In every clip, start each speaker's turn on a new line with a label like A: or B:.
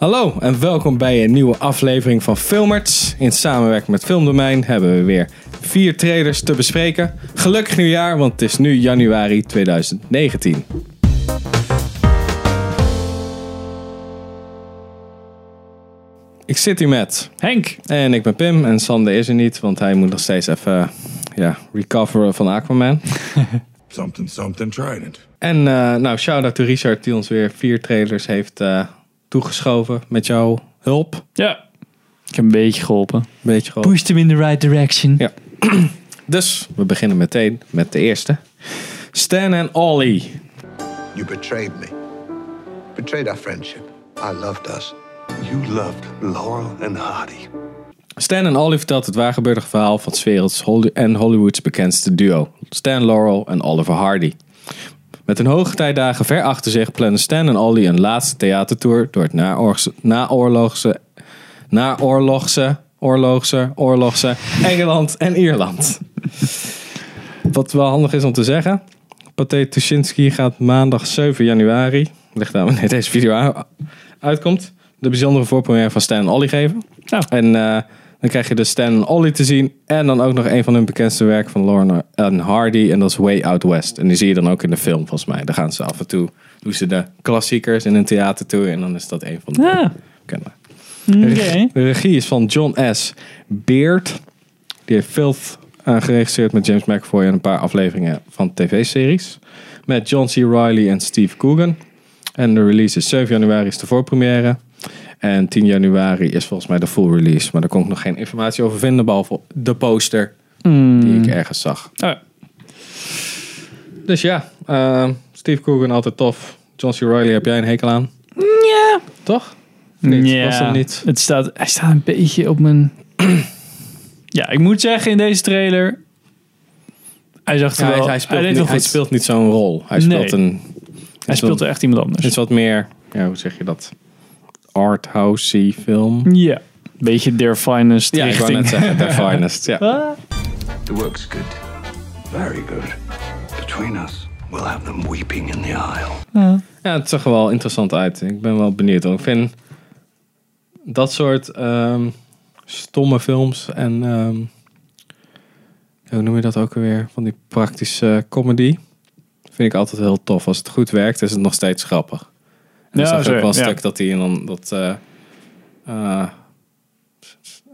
A: Hallo en welkom bij een nieuwe aflevering van Filmerts. In samenwerking met Filmdomein hebben we weer vier trailers te bespreken. Gelukkig nieuwjaar, want het is nu januari 2019. Ik zit hier met
B: Henk.
A: en ik ben Pim en Sander is er niet, want hij moet nog steeds even ja, recoveren van Aquaman.
C: Something, something trident.
A: En eh, nou, shout-out to Richard die ons weer vier trailers heeft eh, toegeschoven met jouw hulp.
B: Ja. Ik heb een beetje geholpen.
A: Beetje gewoon.
B: Pushed hem in the right direction.
A: Ja. Dus we beginnen meteen met de eerste. Stan en Ollie.
D: You betrayed me. Betrayed our friendship. I loved us.
C: You loved Laurel and Hardy.
A: Stan en Ollie vertelt het waargebeurdige verhaal van 's werelds Holly- en Hollywoods bekendste duo. Stan Laurel en Oliver Hardy. Met hun hoogtijdagen ver achter zich plannen Stan en Ollie een laatste theatertour door het naoorlogse, naoorlogse, naoorlogse, oorlogse, oorlogse Engeland en Ierland. Wat wel handig is om te zeggen. Pathé Tuschinski gaat maandag 7 januari, ligt aan wanneer deze video a- uitkomt, de bijzondere voorpremière van Stan en Ollie geven.
B: Ja.
A: En eh, dan krijg je dus Stan en Ollie te zien. En dan ook nog een van hun bekendste werk van Lauren en Hardy. En dat is Way Out West. En die zie je dan ook in de film volgens mij. Daar gaan ze af en toe, doen ze de klassiekers in een theatertour. En dan is dat een van de
B: Ah,
A: bekende.
B: oké.
A: De regie is van John S. Beard. Die heeft Filth eh, geregisseerd met James McAvoy en een paar afleveringen van tv-series. Met John C. Reilly en Steve Coogan. En de release is 7 januari is de voorpremière. En 10 januari is volgens mij de full release. Maar daar kon ik nog geen informatie over vinden, behalve de poster
B: Hmm.
A: die ik ergens zag.
B: Ah,
A: Dus ja, eh, Steve Coogan altijd tof. John C. Reilly heb jij een hekel aan?
B: ja.
A: Toch? Niet,
B: Ja.
A: was hem niet.
B: Het staat, hij staat een beetje op mijn... ja, ik moet zeggen in deze trailer... Hij zag er
A: Hij,
B: wel...
A: hij speelt,
B: deed
A: niet,
B: wel
A: hij
B: goed.
A: speelt niet zo'n rol. Hij speelt
B: Nee.
A: een
B: hij speelt er echt iemand
A: Het is
B: anders.
A: wat meer, ja, hoe zeg je dat? Arthousey film.
B: Ja. Beetje their finest
A: Ja, ik wou
B: richting.
A: net zeggen, The Finest. Ja.
B: Ah.
C: The work's good. Very good. Between us, we'll have them weeping in the aisle.
A: ja, het zag er wel interessant uit. Ik ben wel benieuwd. want Ik vind dat soort ehm, stomme films en ehm, hoe noem je dat ook alweer? Van die praktische comedy. Vind ik altijd heel tof. Als het goed werkt, is het nog steeds grappig. En
B: Ja,
A: dan zag ik
B: zo,
A: ook wel een
B: ja.
A: stuk dat hij en dan dat eh, eh,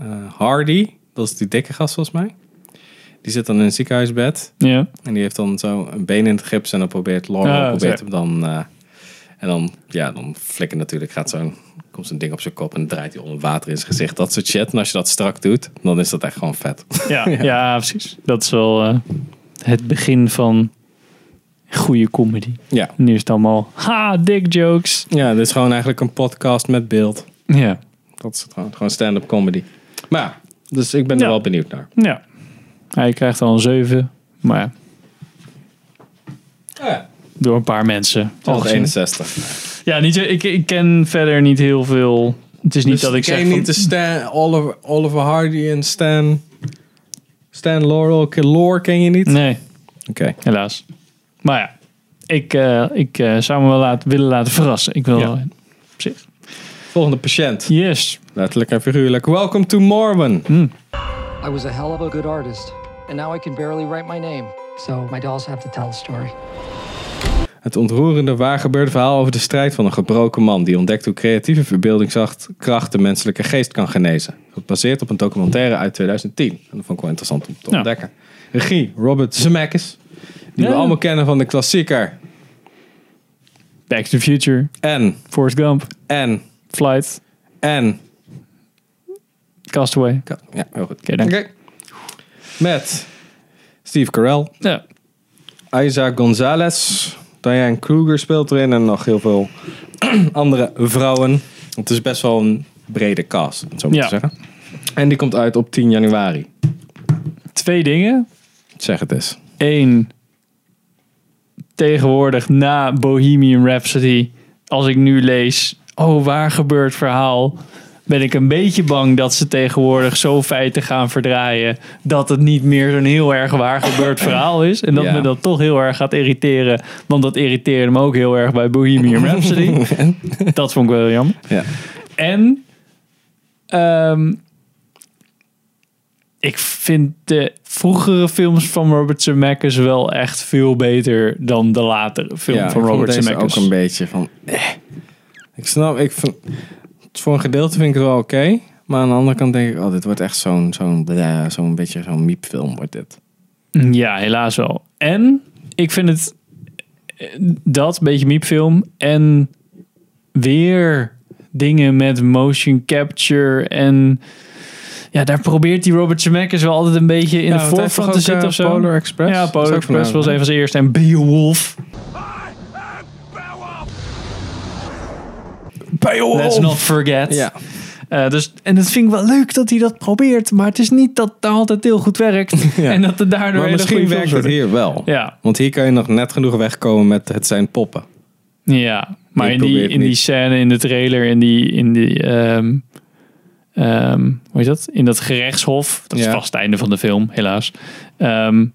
A: eh, Hardy, dat is die dikke gast volgens mij. Die zit dan in een ziekenhuisbed.
B: Ja.
A: En die heeft dan zo een been in het gips en dan probeert Laura
B: Ah,
A: probeert
B: zo.
A: hem dan. eh, en dan, ja, dan flikker natuurlijk. Gaat zo'n, komt zo'n ding op zijn kop en draait hij onder water in zijn gezicht. Dat soort shit. En als je dat strak doet, dan is dat echt gewoon vet.
B: Ja, ja. precies. Dat is wel eh, het begin van goede comedy.
A: ja.
B: Nu is het allemaal ha, dick jokes.
A: Ja, dit is gewoon eigenlijk een podcast met beeld.
B: Ja.
A: Dat is het gewoon, gewoon stand-up comedy. Maar ja, dus ik ben er
B: Ja.
A: wel benieuwd naar.
B: Ja. Hij krijgt al een 7, maar ja,
A: Ja,
B: door een paar mensen.
A: tot
B: Algezien-
A: 61.
B: Ja, niet, zo- ik, ik ken verder niet heel veel. Het is niet
A: Dus
B: dat ik zeg. van-
A: niet de Stan, Oliver, Oliver Hardy en Stan... Stan Laurel, Lore ken je niet?
B: Nee,
A: Oké.
B: helaas. Maar ja, ik, eh, ik eh, zou me wel laten, willen laten verrassen. Ik wil.
A: Ja.
B: op zich.
A: Volgende patiënt.
B: Yes.
A: Letterlijk en figuurlijk. Welcome to Morwen.
E: I was a hell of a good artist, and now I can barely write my name. So my dolls have to tell the story.
A: Het ontroerende waargebeurde verhaal over de strijd van een gebroken man die ontdekt hoe creatieve verbeeldingskracht de menselijke geest kan genezen. Gebaseerd op een documentaire uit 2010. En dat vond ik wel interessant om te
B: Ja.
A: ontdekken. Regie Robert Zemeckis, die we
B: Ja.
A: allemaal kennen van de klassieker.
B: Back to the Future,
A: En,
B: Forrest Gump,
A: en,
B: Flight,
A: en.
B: Castaway.
A: Ja, heel goed.
B: Oké, dank.
A: Oké. Met Steve Carell,
B: Ja.
A: Isaac Gonzalez, Diane Kruger speelt erin en nog heel veel andere vrouwen. Het is best wel een brede cast, om het zo maar
B: Ja.
A: te zeggen. En die komt uit op 10 januari.
B: Twee dingen.
A: Zeg het eens.
B: Eén, tegenwoordig na Bohemian Rhapsody, als ik nu lees, oh waar gebeurt verhaal, ben ik een beetje bang dat ze tegenwoordig zo feiten gaan verdraaien dat het niet meer zo'n heel erg waar gebeurd verhaal is. En dat
A: Ja.
B: me dat toch heel erg gaat irriteren, want dat irriteerde me ook heel erg bij Bohemian Rhapsody. dat vond ik wel jammer.
A: Ja.
B: En ehm, ik vind de vroegere films van Robert Zemeckis wel echt veel beter dan de latere film
A: ja,
B: van
A: ik vond
B: Robert
A: deze
B: Zemeckis.
A: ook een beetje van... Eh. Ik snap, ik vind, voor een gedeelte vind ik het wel oké. maar aan de andere kant denk ik, oh, dit wordt echt zo'n zo'n bla, zo'n beetje zo'n miepfilm wordt dit.
B: Ja, helaas wel. En ik vind het eh, dat beetje miepfilm en weer dingen met motion capture en ja, daar probeert die Robert Zemeckis wel altijd een beetje in
A: Ja,
B: de
A: want hij heeft
B: voorfront
A: toch
B: te
A: ook,
B: zitten
A: eh,
B: of zo.
A: Polar Express?
B: Ja,
A: Dat is
B: Polar
A: ook van eh,
B: Express
A: hem, hè?
B: was even als eerste en Beowulf.
A: Beowulf!
B: Let's not forget.
A: Ja,
B: Eh, dus, en dat vind ik wel leuk dat hij dat probeert, maar het is niet dat het altijd heel goed werkt
A: Ja.
B: en dat het daardoor
A: maar
B: hele
A: misschien
B: goede films
A: werkt het
B: worden.
A: hier wel.
B: Ja.
A: Want hier kan je nog net genoeg wegkomen met het zijn poppen.
B: Ja, maar
A: Ik
B: in die,
A: probeer het
B: in die
A: niet.
B: scène, in de trailer, in die, in die ehm, ehm, hoe heet dat? In dat gerechtshof, dat is
A: Ja.
B: vast het einde van de film, helaas. Ehm,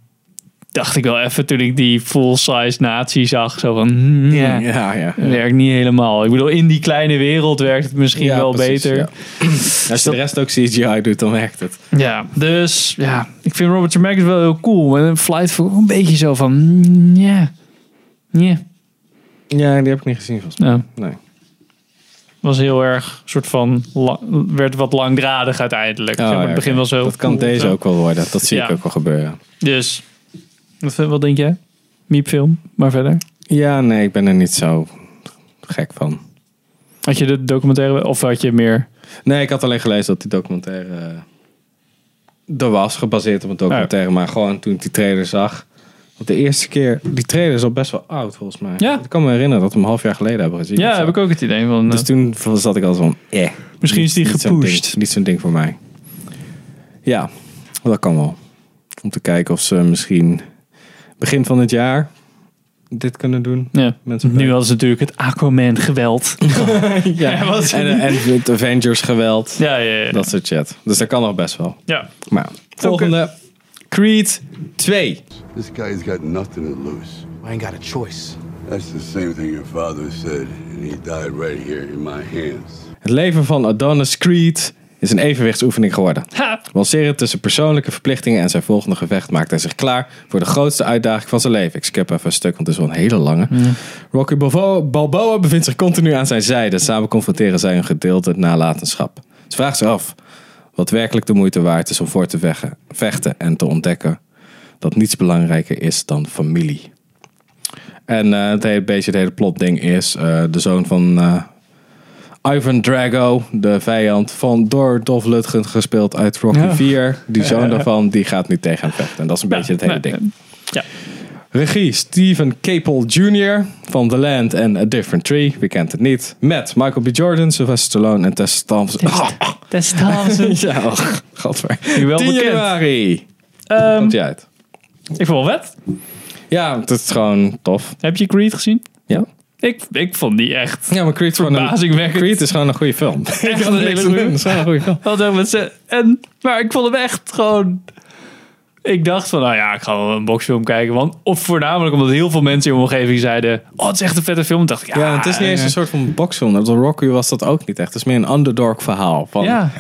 B: dacht ik wel even toen ik die full-size nazi zag, zo van, hmm, ja,
A: ja. ja.
B: dat werkt niet helemaal. Ik bedoel, in die kleine wereld werkt het misschien
A: Ja,
B: wel
A: precies,
B: beter.
A: ja. Als je de rest ook CGI doet, dan werkt het.
B: Ja, dus ja, ik vind Robert Zemeckis wel heel cool. En Flight vond ik een beetje zo van, hmm, ja, ja.
A: Ja, die heb ik niet gezien volgens mij.
B: Nou,
A: Nee.
B: was heel erg soort van la- werd wat langdradig uiteindelijk. Zeg maar,
A: ja,
B: het begin
A: Oh, oké.
B: was heel
A: Dat kan
B: cool
A: deze
B: en zo.
A: ook wel worden. Dat zie
B: Ja.
A: ik ook wel gebeuren.
B: Dus wat, vind- wat denk jij? Miepfilm, maar verder.
A: Ja, nee, ik ben er niet zo gek van.
B: Had je de documentaire of had je meer?
A: Nee, ik had alleen gelezen dat die documentaire eh, er was, gebaseerd op een documentaire. Maar gewoon toen ik die trailer zag. Want de eerste keer, die trailer is al best wel oud volgens mij.
B: Ja.
A: Ik kan me herinneren dat we hem een half jaar geleden hebben gezien.
B: Ja,
A: of zo.
B: heb ik ook het idee van. eh,
A: Dus toen zat ik al zo van, eh.
B: Misschien is die
A: niet zo'n ding.
B: gepusht.
A: Niet zo'n ding voor mij. Ja, dat kan wel. Om te kijken of ze misschien begin van het jaar dit kunnen doen.
B: ja.
A: mensen
B: Nu hadden ze natuurlijk het Aquaman geweld.
A: Ja,
B: wat-
A: en, en het Avengers geweld.
B: Ja, ja, ja.
A: Dat soort chat. Dus dat kan nog best wel.
B: ja.
A: Maar ja. volgende. Creed 2.
F: This guy's got nothing to lose.
G: I ain't got a choice.
F: That's the same thing your father said, and he died right here in my hands.
A: Het leven van Adonis Creed is een evenwichtsoefening geworden.
B: Ha!
A: Balancerend tussen persoonlijke verplichtingen en zijn volgende gevecht maakt hij zich klaar voor de grootste uitdaging van zijn leven. Ik skip even een stuk, want het is wel een hele lange. Rocky Balboa, Balboa bevindt zich continu aan zijn zijde. Samen confronteren zij een gedeelte nalatenschap. Ze vraagt zich af wat werkelijk de moeite waard is om voor te veggen- vechten en te ontdekken dat niets belangrijker is dan familie. En eh, het hele beetje het hele plotding is eh, de zoon van eh, Ivan Drago, de vijand van door Dolph Lundgren gespeeld uit Rocky
B: Ja.
A: 4. Die zoon daarvan, die gaat nu tegen hem vechten. En dat is een beetje het hele
B: nee,
A: ding.
B: Ja.
A: Regie Steven Capel Jr. van The Land and A Different Tree. Wie kent het niet? Met Michael B. Jordan, Sylvester Stallone en Tessa Thompson. Ah,
B: Tess Thompson.
A: ja, oh, gadver.
B: Nu
A: 10
B: wel bekend.
A: januari.
B: Ehm,
A: Komt die uit.
B: ik vond het vet.
A: Ja, dat is gewoon tof.
B: Heb je Creed gezien?
A: Ja.
B: Ik, ik vond die echt
A: Ja, maar Creed, is gewoon een,
B: Verbazingwekkend.
A: Creed is gewoon een goede film. Ik
B: Echt
A: had
B: een
A: er niks aan
B: hele goeie.
A: doen. Het is gewoon een goede film.
B: Wat ook met ze- en, maar ik vond hem echt gewoon... Ik dacht van, nou ja, ik ga wel een boxfilm kijken. Want, of voornamelijk omdat heel veel mensen in mijn omgeving zeiden... Oh, het is echt een vette film. Dacht ik, ja,
A: Ja, het is niet eens
B: eh,
A: een soort van boxfilm. Dat Rocky was dat ook niet echt. Het is meer een underdog verhaal. Van,
B: Ja.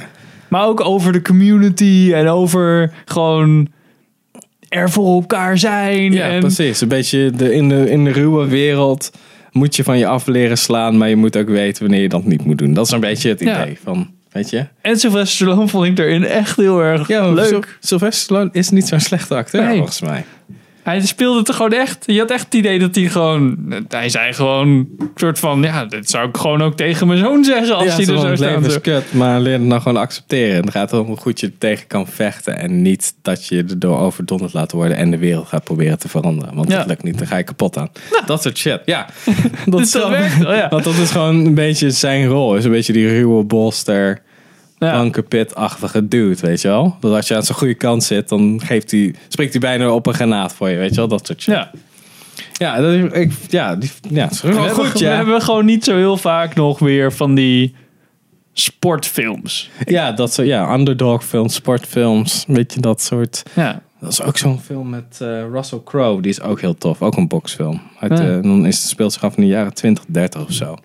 B: Maar ook over de community en over gewoon er voor elkaar zijn.
A: Ja,
B: en,
A: precies. Een beetje de, in, de, in de ruwe wereld moet je van je af leren slaan. Maar je moet ook weten wanneer je dat niet moet doen. Dat is een beetje het
B: Ja.
A: idee van, weet je.
B: En Sylvester Stallone vond ik erin echt heel erg
A: Ja,
B: leuk.
A: leuk. Sylvester Stallone is niet zo'n slechte acteur
B: Nee.
A: volgens mij.
B: Hij speelde het gewoon echt. Je had echt het idee dat hij gewoon... Hij zei gewoon een soort van... Ja, dit zou ik gewoon ook tegen mijn zoon zeggen als
A: Ja,
B: hij
A: zo
B: er
A: van,
B: zo
A: het
B: staat.
A: leven is kut, maar leer het nou gewoon accepteren. En het gaat erom hoe goed je er tegen kan vechten. En niet dat je erdoor overdonderd laat worden en de wereld gaat proberen te veranderen. Want
B: Ja.
A: dat lukt niet, dan ga je kapot aan. Dat soort shit, ja. Dat
B: Dus dat
A: wel-
B: werkt wel, ja.
A: Want dat is gewoon een beetje zijn rol. Is een beetje die ruwe bolster,
B: Ja.
A: blanke pit-achtige dude, weet je wel. Dat als je aan zijn goede kant zit, dan geeft hij, spreekt hij bijna op een granaat voor je, weet je wel. Dat soort shit.
B: Ja.
A: Ja, dat is, ik, ja, die, ja het is
B: We
A: gewoon
B: hebben,
A: goed,
B: we
A: ja.
B: hebben gewoon niet zo heel vaak nog weer van die sportfilms.
A: Ja, dat soort, ja, underdog films, sportfilms, een beetje dat soort.
B: Ja.
A: Dat is ook zo'n film met eh, Russell Crowe, die is ook heel tof. Ook een boxfilm. Uit,
B: Ja.
A: eh, dan is het speelt zich af in de jaren 20, 30 of zo.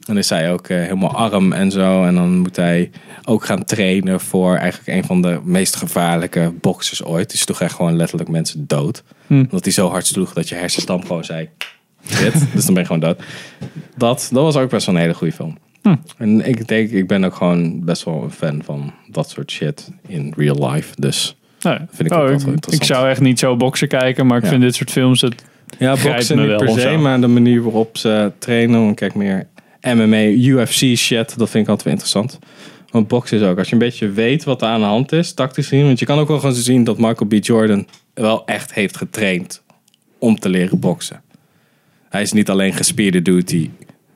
A: Dan is hij ook eh, helemaal arm en zo. En dan moet hij ook gaan trainen voor eigenlijk een van de meest gevaarlijke boxers ooit. Die sloeg echt gewoon letterlijk mensen dood. Omdat hij zo hard sloeg dat je hersenstam gewoon zei... Dit, dus dan ben je gewoon dood. Dat, dat was ook best wel een hele goede film. En ik denk, ik ben ook gewoon best wel een fan van dat soort shit in real life. Dus
B: Nou,
A: Vind ik ook wel interessant.
B: ik zou echt niet zo boksen kijken, maar ik
A: Ja.
B: vind dit soort films... Het,
A: Ja,
B: Grijpt
A: boksen
B: me
A: niet
B: wel
A: per
B: of
A: se,
B: zo.
A: maar de manier waarop ze trainen. Want kijk, meer MMA, UFC shit, dat vind ik altijd wel interessant. Want boksen is ook, als je een beetje weet wat er aan de hand is, tactisch gezien. Want je kan ook wel gewoon zien dat Michael B. Jordan wel echt heeft getraind om te leren boksen. Hij is niet alleen gespierde dude die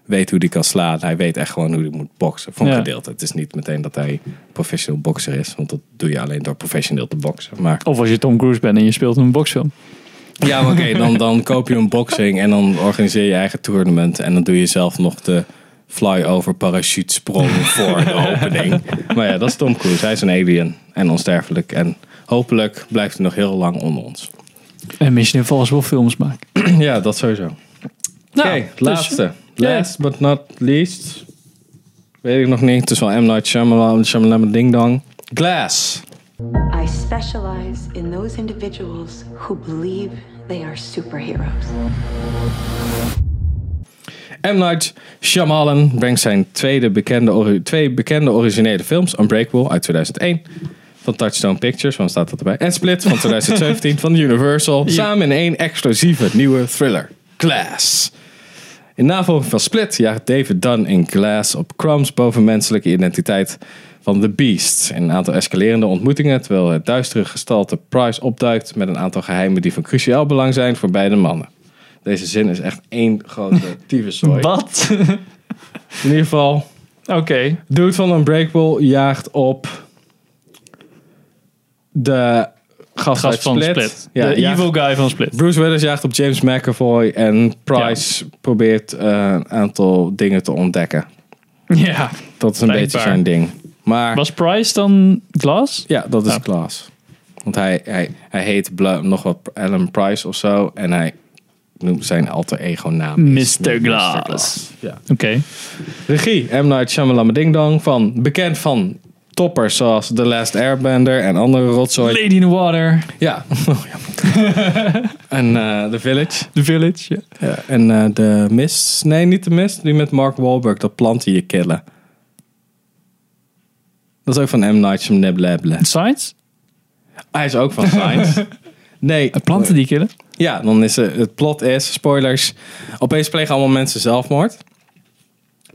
A: weet hoe die kan slaan. Hij weet echt gewoon hoe hij moet boksen, voor een
B: Ja.
A: gedeelte. Het is niet meteen dat hij professioneel bokser is, want dat doe je alleen door professioneel te boksen. Maar
B: of als je Tom Cruise bent en je speelt een boksfilm.
A: ja, maar oké, dan, dan koop je een boxing en dan organiseer je eigen tournament. En dan doe je zelf nog de flyover parachutesprong voor de opening. Maar ja, dat is Tom Cruise. Hij is een alien en onsterfelijk. En hopelijk blijft hij nog heel lang onder ons.
B: En Mission Impossible films maken.
A: ja, dat sowieso. Oké,
B: Nou, dus-
A: laatste.
B: Ja.
A: Last but not least. Weet ik nog niet. Het is wel M. Night Shyamalan, Shyamalan Ding Dong. Glass.
G: I specialize in those individuals who believe they are superheroes.
A: M. Night Shyamalan brengt zijn tweede bekende, ori- twee bekende originele films. Unbreakable uit 2001 van Touchstone Pictures, want staat dat erbij. En Split van 2017 van Universal. Samen in één exclusieve nieuwe thriller. Glass. In navolging van Split jaagt David Dunn in Glass op crumbs boven menselijke identiteit van The Beast. In een aantal escalerende ontmoetingen, terwijl het duistere gestalte Price opduikt met een aantal geheimen die van cruciaal belang zijn voor beide mannen. Deze zin is echt één grote tyfuszooi.
B: Wat?
A: In ieder geval,
B: Oké.
A: dude van Unbreakable jaagt op de gast,
B: Gast
A: uit
B: van Split.
A: Ja,
B: de
A: jaagt-
B: evil guy van Split.
A: Bruce Willis jaagt op James McAvoy en Price probeert eh, een aantal dingen te ontdekken.
B: Ja.
A: Dat is een
B: Blijkbaar.
A: beetje zijn ding. Maar
B: Was Price dan Glass?
A: ja, dat is
B: Ja.
A: Klaas. Want hij, hij, hij heet Bla- nog wat Alan Price of zo. En hij noemt zijn alter ego naam. is
B: Mr. Glass.
A: Ja.
B: Oké.
A: Regie M. Night Shyamalan Ding Dong van bekend van toppers zoals The Last Airbender en andere rotzooi.
B: Lady in the Water.
A: ja. Oh, ja. en eh, The Village.
B: The Village. Ja.
A: Ja, en eh, de mist. Nee, niet de mist. Die met Mark Wahlberg. Dat planten je killen. Dat is ook van M. Night Shyamalan.
B: Science?
A: Hij is ook van Science. Nee.
B: Planten die killen?
A: Ja, dan is eh, het plot is, spoilers, opeens plegen allemaal mensen zelfmoord.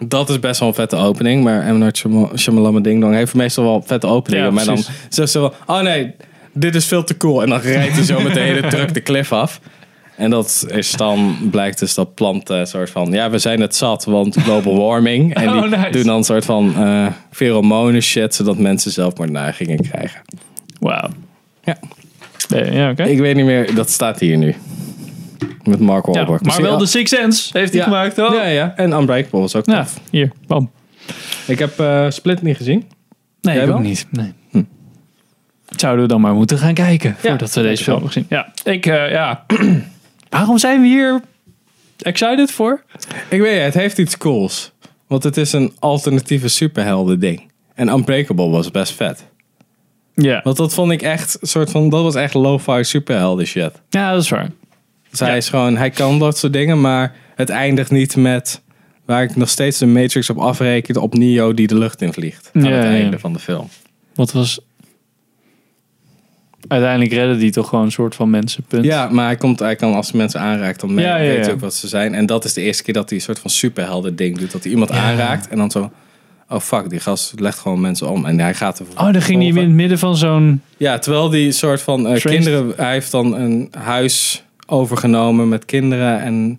A: Dat is best wel een vette opening, maar M. Night Shyam- Shyamalan Ding Dong heeft meestal wel vette openingen.
B: Ja,
A: maar dan
B: precies.
A: zegt ze wel, oh nee, dit is veel te cool. En dan rijdt hij zo met de hele truck de cliff af. En dat is dan, blijkt dus dat plant eh, soort van, ja we zijn het zat, want global warming. En die
B: Oh, nice.
A: doen dan een soort van eh pheromonen shit, zodat mensen zelfmoordneigingen krijgen.
B: Wauw.
A: Ja.
B: Nee, ja, oké.
A: Ik weet niet meer, dat staat hier nu. Met Mark
B: Ja,
A: Wahlberg.
B: maar
A: Misschien-
B: wel de Six Sense heeft hij
A: ja.
B: gemaakt. Oh.
A: Ja, ja. En Unbreakable was ook
B: Ja,
A: tof.
B: hier. Bam.
A: Ik heb eh, Split niet gezien. Jij
B: Nee, ik ook
A: wel?
B: niet. Nee. Zouden we dan maar moeten gaan kijken voordat we deze
A: ik wel.
B: film nog zien. Ja, ik, eh, ja. Waarom zijn we hier excited voor?
A: Ik weet het, het heeft iets cools. Want het is een alternatieve superhelden ding. En Unbreakable was best vet.
B: Ja.
A: Want dat vond ik echt een soort van... Dat was echt lo-fi superhelden shit.
B: Ja, dat is waar.
A: Dus hij
B: Ja.
A: is gewoon... Hij kan dat soort dingen, maar het eindigt niet met... Waar ik nog steeds de Matrix op afreken. Op Neo die de lucht in vliegt. Aan
B: Ja,
A: het
B: ja.
A: einde van de film.
B: Wat was... Uiteindelijk redden die toch gewoon een soort van mensenpunt.
A: Ja, maar hij, komt, hij kan als hij mensen aanraakt, dan
B: Ja, ja,
A: weet
B: ja.
A: hij ook wat ze zijn. En dat is de eerste keer dat hij een soort van superhelden ding doet. Dat hij iemand aanraakt en dan zo... Oh fuck, die gast legt gewoon mensen om. En hij gaat er
B: Oh, dan ging hij in het midden van zo'n...
A: Ja, terwijl die soort van eh,
B: Strange.
A: kinderen... Hij heeft dan een huis overgenomen met kinderen. En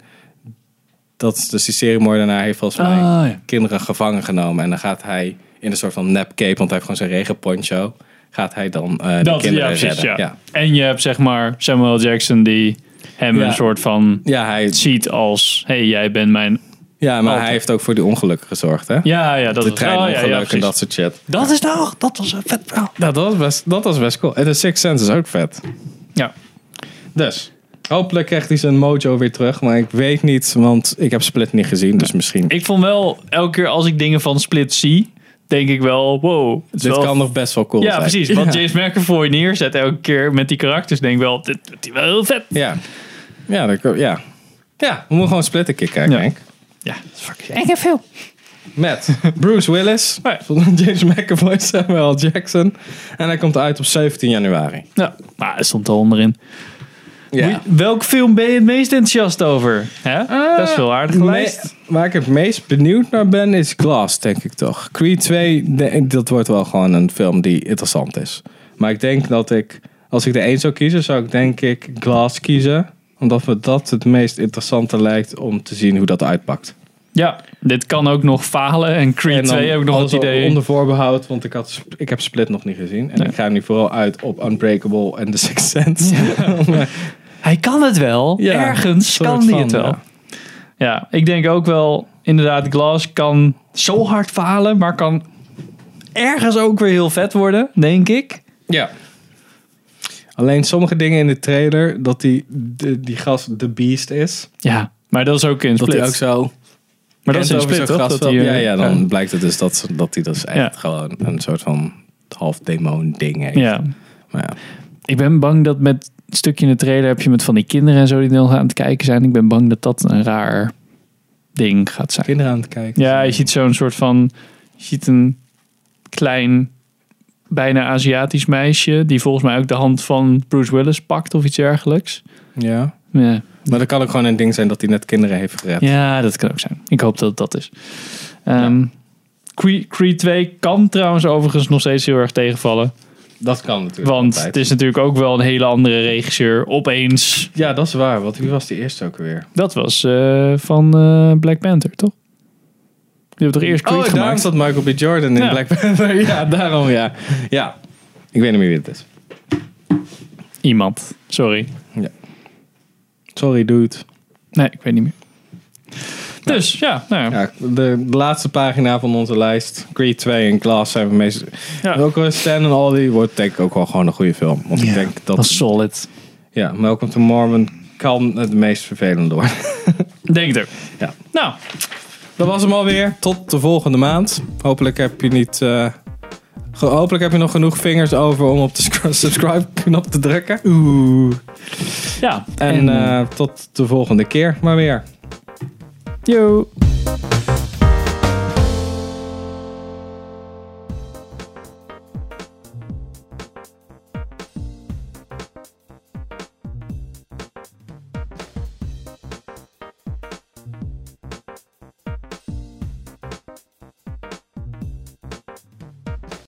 A: dat is dus die seriemoordenaar heeft volgens mij
B: Ah, ja.
A: kinderen gevangen genomen. En dan gaat hij in een soort van nepcape, want hij heeft gewoon zijn regenponcho... Gaat hij dan eh de
B: Dat, ja,
A: kinderen
B: precies,
A: redden.
B: ja.
A: ja.
B: En je hebt zeg maar Samuel Jackson die hem
A: Ja.
B: een soort van
A: Ja, hij,
B: ziet als... hey, jij bent mijn...
A: ja, maar
B: Altijd.
A: hij heeft ook voor die ongelukken gezorgd, hè?
B: Ja, ja, dat
A: de
B: was- oh, ja,
A: treinongeluk
B: ja,
A: en
B: precies.
A: dat soort shit.
B: Dat is nou... Dat was een vet verhaal.
A: Ja, dat was best, dat was best cool. En de Sixth Sense is ook vet.
B: Ja.
A: Dus, Hopelijk krijgt hij zijn mojo weer terug, maar ik weet niet, want ik heb Split niet gezien, dus misschien.
B: Ik vond wel, elke keer als ik dingen van Split zie, denk ik wel, wow. Het is
A: dit
B: wel-
A: kan nog best wel cool
B: Ja,
A: zijn.
B: precies. Wat James McAvoy neerzet elke keer met die karakters, denk ik wel, dit dit is wel heel vet.
A: Ja. Ja, dat kan- ja. ja, we moeten gewoon Split een keer kijken,
B: Ja.
A: denk ik.
B: Ja, dat is fucking Ik heb veel.
A: Met Bruce Willis,
B: Ja.
A: James McAvoy, Samuel L. Jackson. En hij komt uit op 17 januari.
B: Nou, maar het stond al onderin.
A: Ja.
B: Wie- Welke film ben je het meest enthousiast over? Hè? dat is veel aardige lijst.
A: Me- waar ik het meest benieuwd naar ben is Glass, denk ik toch. Creed 2, de- dat wordt wel gewoon een film die interessant is. Maar ik denk dat ik, als ik er één zou kiezen, zou ik denk ik Glass kiezen. Omdat me dat het meest interessante lijkt om te zien hoe dat uitpakt.
B: Ja, dit kan ook nog falen. En Creed
A: dan
B: 2 heb ik nog
A: alles
B: het idee.
A: onder voorbehoud, want ik, had, ik heb Split nog niet gezien. En ik ga nu vooral uit op Unbreakable en The Sixth Sense. eh,
B: Hij kan het wel.
A: Ja,
B: Ergens
A: soort
B: kan hij
A: van,
B: het wel.
A: ja.
B: Ja. ik denk ook wel, inderdaad, Glass kan zo hard falen, maar kan ergens ook weer heel vet worden, denk ik.
A: Ja. Alleen sommige dingen in de trailer, dat die, de- die gast de beast is.
B: Ja, maar dat is ook in Split.
A: zo.
B: maar dat is in Split, toch? Dat hij,
A: ja,
B: eh,
A: ja, dan blijkt het dus dat, ze- dat hij dus echt
B: Ja.
A: gewoon een soort van half demon ding heeft.
B: eh, ja.
A: Maar ja.
B: Ik ben bang dat met een stukje in de trailer heb je met van die kinderen en zo die nog aan het kijken zijn. Ik ben bang dat dat een raar ding gaat zijn.
A: Kinderen aan het kijken.
B: Ja, je ziet zo'n soort van. Je ziet een klein, bijna Aziatisch meisje. die volgens mij ook de hand van Bruce Willis pakt of iets dergelijks.
A: Ja.
B: Ja,
A: Maar dat kan ook gewoon een ding zijn dat hij net kinderen heeft gered.
B: ja dat kan ook zijn. Ik hoop dat het dat is. Ehm Creed, Creed 2 kan trouwens overigens nog steeds heel erg tegenvallen.
A: Dat kan natuurlijk.
B: Want
A: altijd.
B: het is natuurlijk ook wel een hele andere regisseur. Opeens.
A: Ja, dat is waar. Want wie was die eerste ook weer?
B: Dat was eh, van eh, Black Panther, toch? Die hebben toch eerst Creed
A: oh, daarom
B: gemaakt?
A: zat Michael B. Jordan in
B: Ja.
A: Black Panther. Ja, daarom ja. Ja. Ik weet niet meer wie het is.
B: Iemand. Sorry.
A: Sorry, dude.
B: Nee, ik weet niet meer. Dus ja, nou ja.
A: Ja, de, de laatste pagina van onze lijst. Creed 2 en Glass zijn we meest...
B: Ja.
A: Welke Stan en Aldi wordt denk ik ook wel gewoon een goede film. Want ik denk dat...
B: Dat is solid.
A: Ja, Welcome to Mormon kan het meest vervelende worden.
B: Denk het ook.
A: Ja.
B: Nou,
A: Dat was hem alweer. Tot de volgende maand. Hopelijk heb je niet... eh, ge- Hopelijk heb je nog genoeg vingers over om op de scr- subscribe-knop te drukken. Oeh.
B: ja.
A: En eh, tot de volgende keer maar weer.
B: yo.